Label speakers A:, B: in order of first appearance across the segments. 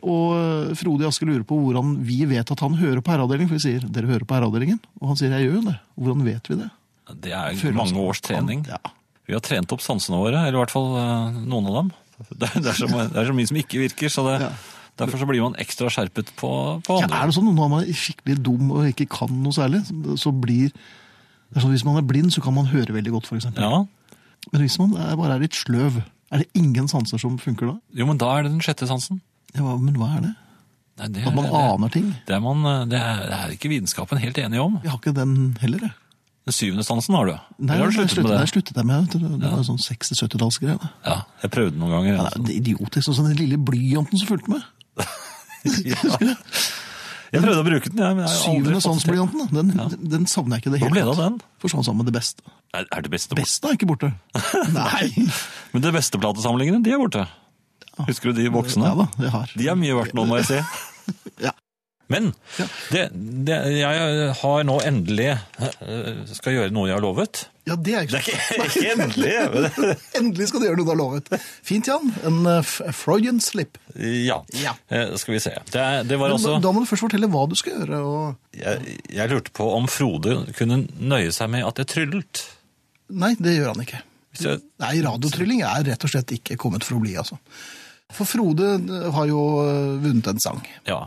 A: Og eh, Frode Jaske lurer på hvordan vi vet at han hører på herreavdelingen. For vi sier 'dere hører på herreavdelingen', og han sier 'jeg gjør jo det'. Hvordan vet vi det?
B: Det er
A: Føler
B: mange
A: oss-
B: års trening.
A: Ja.
B: Vi har trent opp sansene våre, eller i hvert fall eh, noen av dem. Det er, det er, så, det er så mye som ikke virker, så det,
A: Ja.
B: derfor så blir man ekstra skjerpet på, på
A: Ja,
B: andre.
A: er det sånn når man er skikkelig dum og ikke kan noe særlig, så blir det er sånn, Hvis man er blind, så kan man høre veldig godt, f.eks.
B: Ja,
A: Men hvis man er, bare er litt sløv, er det ingen sanser som funker da?
B: jo, men da er det den sjette sansen.
A: Ja, hva- men hva er det?
B: Nei, det,
A: At man
B: det,
A: aner ting?
B: Det er, man, eh, det, er, det er ikke vitenskapen helt enig om.
A: Vi har ikke den heller, jeg.
B: Den syvende sansen har du.
A: Nei,
B: Eller har
A: det
B: du sluttet med
A: der
B: det?
A: sluttet jeg med. vet du. Det var en sånn 60-70-tallsgreie. da.
B: Ja, jeg prøvde noen ganger.
A: Ja,
B: altså.
A: det er idiotisk. Og så den lille blyanten som fulgte med.
B: Ja. Jeg prøvde å bruke den, jeg, men jeg har
A: Syvende
B: aldri fått det til.
A: sansblyanten. da. Den, den savner jeg ikke i det
B: Hvor ble det
A: hele
B: av den?
A: Forsvant sammen med det beste.
B: Er er det beste borte?
A: Beste er ikke borte. Nei!
B: Men det beste platesamlingene, de er borte. Husker du de voksne?
A: Ah. Ja da, jeg har.
B: De er mye verdt nå, må jeg si.
A: Ja.
B: Men
A: Ja.
B: det, det, jeg har nå endelig eh, skal gjøre noe jeg har lovet.
A: Ja, det er
B: Det
A: ikke
B: er ikke, ikke endelig! men-
A: Endelig skal du gjøre noe du har lovet. Fint, Jan. En eh, f- Freudian slip.
B: Ja.
A: Ja.
B: Eh, Skal vi se. Det, er- det var
A: Men
B: altså
A: da, da må du først fortelle hva du skal gjøre. Og...
B: jeg, jeg lurte på om Frode kunne nøye seg med at jeg tryllet.
A: Nei, det gjør han ikke.
B: Hvis jeg,
A: Nei, radiotrylling er rett og slett ikke kommet for å bli, altså. For Frode eh, har jo eh, vunnet en sang.
B: ja.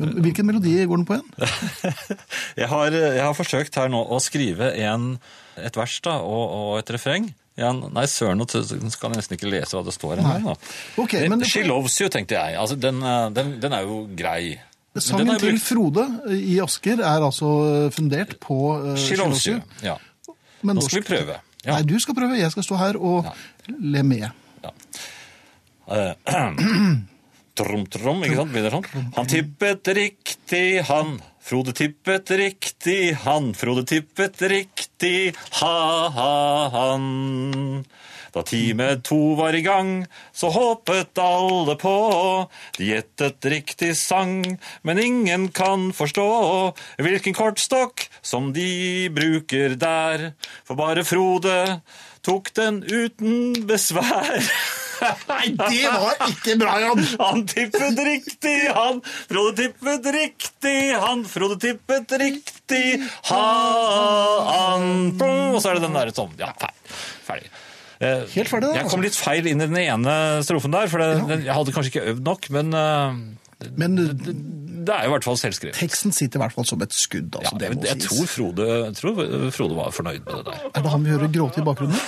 A: Men Hvilken melodi går den på igjen?
B: jeg, har, jeg har forsøkt her nå å skrive en, et vers da, og, og et refreng. Ja, nei, søren, nå t- skal jeg nesten ikke lese hva det står her. da. Eh,
A: Ok, men det-
B: She loves you, tenkte jeg. Altså, den, eh, den, den er jo grei. Men den
A: Sangen
B: har jeg
A: til
B: brukt-
A: Frode eh, i Asker er altså eh, fundert på eh,
B: She loves you. Ja.
A: men
B: Nå skal vi
A: norsk.
B: prøve. Ja.
A: Nei, du skal prøve. Jeg skal stå her og le med.
B: Eh, Trom, trom, ikke sant? Begynner sånn. Han tippet riktig, han. Frode tippet riktig, han. Frode tippet riktig, ha-ha-han. Da time to var i gang, så håpet alle på. De gjettet riktig sang, men ingen kan forstå hvilken kortstokk som de bruker der. For bare Frode tok den uten besvær. Nei,
A: var ikke bra, Jan!
B: han tippet riktig, han. Frode tippet riktig, han. Frode tippet riktig, han. Brum, Og så er det den der sånn. Ja, fer- ferdig. Eh,
A: Helt ferdig, da,
B: Jeg
A: altså.
B: kom litt feil inn i den ene strofen der, for det, den, jeg hadde kanskje ikke øvd nok, men eh,
A: Men
B: det, det er i hvert fall selvskrevet.
A: teksten sitter i hvert fall som et skudd.
B: Ja,
A: Altså, det
B: jeg,
A: må
B: jeg
A: sies.
B: tror Frode, jeg tror Frode var fornøyd med det der.
A: Er det han vi hører gråte i bakgrunnen?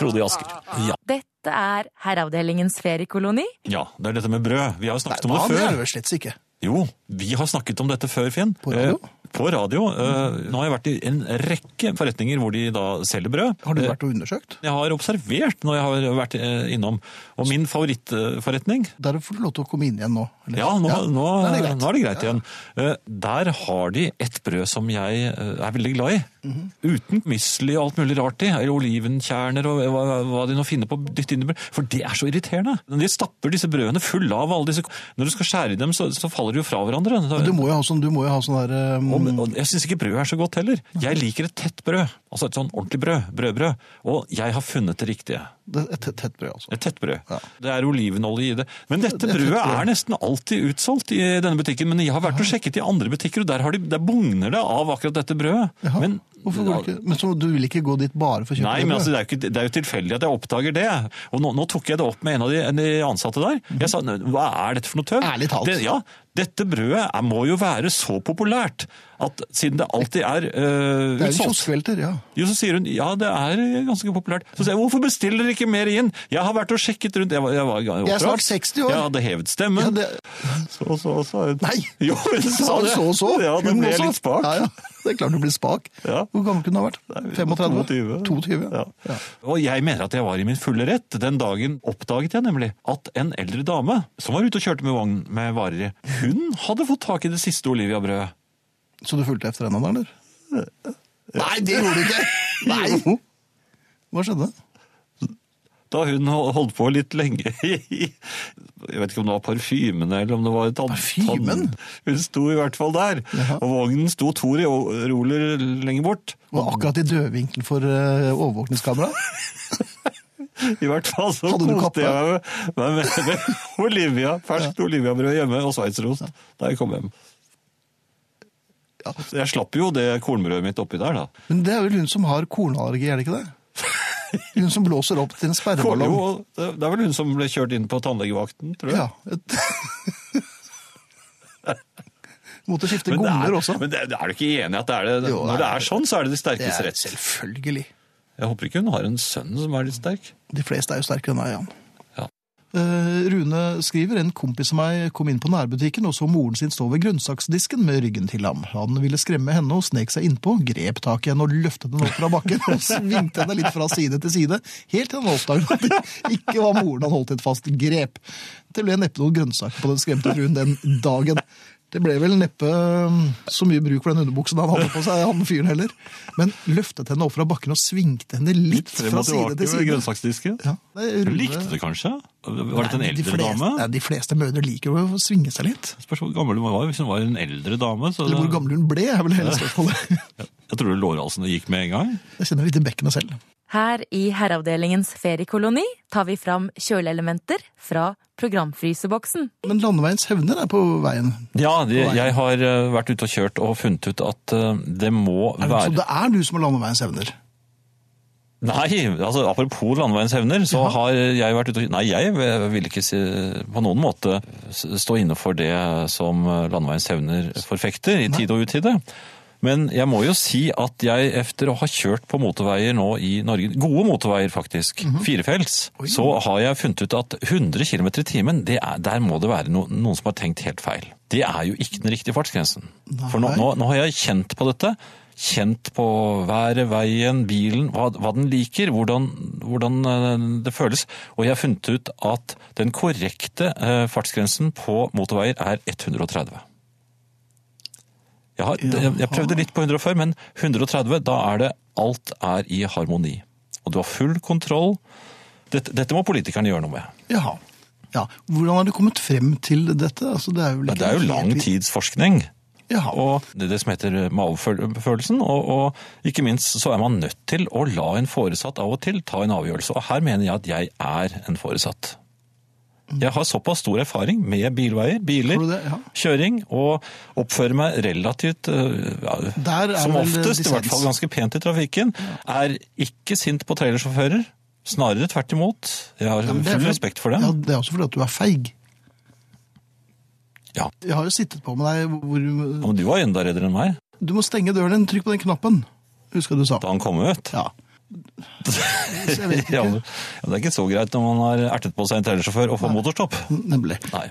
B: Frode i Asker. Ja.
C: Dette er Herreavdelingens feriekoloni.
B: ja, det er dette med brød. Vi har jo snakket om det
A: han
B: før.
A: er det vel slett ikke.
B: Jo, vi har snakket om dette før, Finn.
A: På radio?
B: Eh, på radio. Eh, nå har jeg vært i en rekke forretninger hvor de da selger brød. Eh,
A: Har du vært og undersøkt?
B: Jeg har observert når jeg har vært eh, innom. Og min favorittforretning
A: Der får du lov til å komme inn igjen nå. eller?
B: ja, nå, Nå,
A: Da er det greit.
B: nå er det greit igjen. Eh, Der har de et brød som jeg eh, er veldig glad i.
A: Mhm.
B: Uten misli og alt mulig rart i. Eller olivenkjerner og hva, hva de nå finner på. å dytte inn i brød. For det er så irriterende. De stapper disse brødene fulle av alle disse Når du skal skjære i dem, så, så faller de jo fra hverandre. Da-
A: Du må jo ha sånn, du må jo ha sånn der um,
B: Og, og jeg syns ikke brød er så godt heller. Jeg liker et tett brød. Altså et sånn ordentlig brød. Brødbrød. Og jeg har funnet det riktige.
A: det er Et tett, tett brød, altså.
B: Et tett brød.
A: Ja.
B: Det er olivenolje i det. Men dette
A: er tett
B: brødet
A: brød.
B: er nesten alltid utsolgt i denne butikken. Men jeg har vært og sjekket i andre butikker, og der, har de, der bugner det av akkurat dette brødet.
A: Jaha,
B: Men
A: Hvorfor går du ikke? Men så du vil ikke gå dit bare for å kjøpe
B: Nei,
A: det
B: men
A: brødet?
B: altså, det, er jo ikke, det er jo tilfeldig at jeg oppdager det. Og nå, nå tok jeg det opp med en av de, en av de ansatte der. Jeg sa hva er dette for noe tøv?
A: Mhm. Ærlig talt.
B: Det, ja, dette brødet er, må jo være så populært at siden det alltid er øh,
A: Det er jo en
B: utsolgt
A: kioskvelter, ja.
B: jo, så sier hun ja, det er ganske populært. Så sier jeg hvorfor bestiller dere ikke mer inn? Jeg har vært og sjekket rundt. Jeg, var, jeg, var,
A: Jeg er snart
B: oppdratt.
A: 60 år.
B: Jeg hadde hevet
A: ja
B: stemmen.
A: det,
B: Så, så, så.
A: Nei!
B: Jo, hun
A: Sa
B: sa
A: hun
B: det.
A: så og så?
B: Ja, da
A: Hun
B: ble jeg
A: også?
B: litt spak.
A: Ja, ja. Det er klart du blir spak.
B: Ja.
A: Hvor gammel kunne du ha vært? 35?
B: 22.
A: 22,
B: Ja.
A: ja. ja.
B: Og jeg mener at jeg var i min fulle rett. Den dagen oppdaget jeg nemlig at en eldre dame som var ute og kjørte med vogn med varer i, hun hadde fått tak i det siste Olivia-brødet.
A: Så du fulgte etter henne, da, eller? Nei, det gjorde du ikke! Nei! Hva skjedde?
B: Da hun hol- holdt på litt lenge i Jeg vet ikke om det var parfymen eller om det var tann...
A: Parfymen?
B: tann- Hun sto i hvert fall der.
A: Jaha.
B: Og vognen sto to re- roller lenger bort.
A: eh, Var akkurat i dødvinkelen for uh, overvåkningskameraet?
B: I hvert fall så
A: Hadde du
B: koste
A: kappe?
B: jeg meg med, med, med, med Olivia, ferskt Olivia-brød hjemme og sveitserost da jeg kom hjem. Så Jeg slapp jo det kornbrødet mitt oppi der, da.
A: Men det er vel hun som har kornallergi, er det ikke det? Hun som blåser opp til en
B: Kom,
A: sperreballong.
B: jo, det det er vel hun som ble kjørt inn på tannlegevakten, tror jeg.
A: Ja. Et... Måtte skifte
B: det er,
A: gonger også.
B: men det, er du ikke enig i at det er det?
A: Jo,
B: Når det
A: nei,
B: er sånn, så er det de
A: Det
B: sterkes
A: er
B: rett.
A: selvfølgelig.
B: Jeg håper ikke hun har en sønn som er litt sterk.
A: De fleste er jo sterkere enn meg, Jan.
B: Ja.
A: Eh, Rune skriver en kompis av meg kom inn på nærbutikken og så moren sin stå ved grønnsaksdisken med ryggen til ham. Han ville skremme henne og snek seg innpå, grep tak i henne og løftet henne opp fra bakken og svingte henne litt fra side til side, helt til han oppdaget at det ikke var moren han holdt et fast grep. Det ble neppe noen grønnsaker på den skremte fruen den dagen. Det ble vel neppe um, så mye bruk for den underbuksen han hadde på seg, han fyren heller. Men løftet henne opp fra bakken og svingte henne litt
B: Frem
A: fra
B: og
A: side
B: tilbake
A: til
B: med
A: side.
B: grønnsaksdisken.
A: Ja. Nei,
B: Hun
A: Rune-
B: likte det kanskje? Var dette en
A: Nei, de
B: eldre
A: fleste,
B: dame?
A: Nei, de fleste mødre liker jo å svinge seg litt.
B: Spørs hvor gammel hun var. Hvis hun var en eldre dame, så
A: Eller hvor gammel hun ble, er vel hele spørsmålet.
B: Jeg tror lårhalsene gikk med en gang.
A: Jeg kjenner litt i bekkenet selv.
C: Her i Herreavdelingens feriekoloni tar vi fram kjøleelementer fra programfryseboksen.
A: Men landeveiens hevner er på veien.
B: Ja, de, jeg har eh, vært ute og kjørt og funnet ut at eh, det må
A: Er det, så
B: være
A: det er du som har landeveiens hevner.
B: Nei, altså apropos landeveiens hevner, så har jeg vært ute og Nei, jeg vil ikke si, på noen måte s- stå inne for det som landeveiens hevner forfekter, i tide og utide. Men jeg må jo si at jeg efter å ha kjørt på motorveier nå i Norge, gode motorveier faktisk,
A: Mhm.
B: firefelts, så har jeg funnet ut at 100 km i timen, det er, der må det være no, noen som har tenkt helt feil. Det er jo ikke den riktige fartsgrensen. For nå,
A: Nei.
B: nå, nå har jeg kjent på dette. Kjent på været, veien, bilen, hva, hva den liker, hvordan, hvordan eh, det føles. Og jeg har funnet ut at den korrekte eh, fartsgrensen på motorveier er 130. Jeg, har,
A: Jaha.
B: jeg prøvde litt på 140, men 130, da er det alt er i harmoni. Og du har full kontroll. Dette, dette må politikerne gjøre noe med.
A: Jaha. Ja. Hvordan har du kommet frem til dette? Altså, det, er vel
B: Men
A: ikke
B: Det er jo
A: helt
B: lang
A: vi-
B: tids forskning.
A: Jaha.
B: og det, det som heter magefølelsen. Og, og ikke minst så er man nødt til å la en foresatt av og til ta en avgjørelse. Og her mener jeg at jeg er en foresatt. Jeg har såpass stor erfaring med bilveier, biler,
A: Har du det? Ja.
B: kjøring, og oppfører meg relativt øh, ja,
A: Der er
B: Som
A: vel
B: oftest, i hvert
A: dissens.
B: fall ganske pent i trafikken. Er ikke sint på trailersjåfører. Snarere tvert imot. Jeg har
A: Ja, men det er
B: full
A: fordi-
B: respekt for dem.
A: Ja, det er også fordi at du er feig.
B: Ja.
A: Jeg har jo sittet på med deg
B: Ja,
A: hvor
B: men du var enda reddere enn meg
A: Du må stenge døren din, trykk på den knappen. Husker du sa.
B: da han kom ut.
A: Ja. Jeg vet ikke.
B: Ja, men- ja, det er ikke så greit når man har ertet på seg en trailersjåfør og får motorstopp.
A: Nemlig.
B: Nei.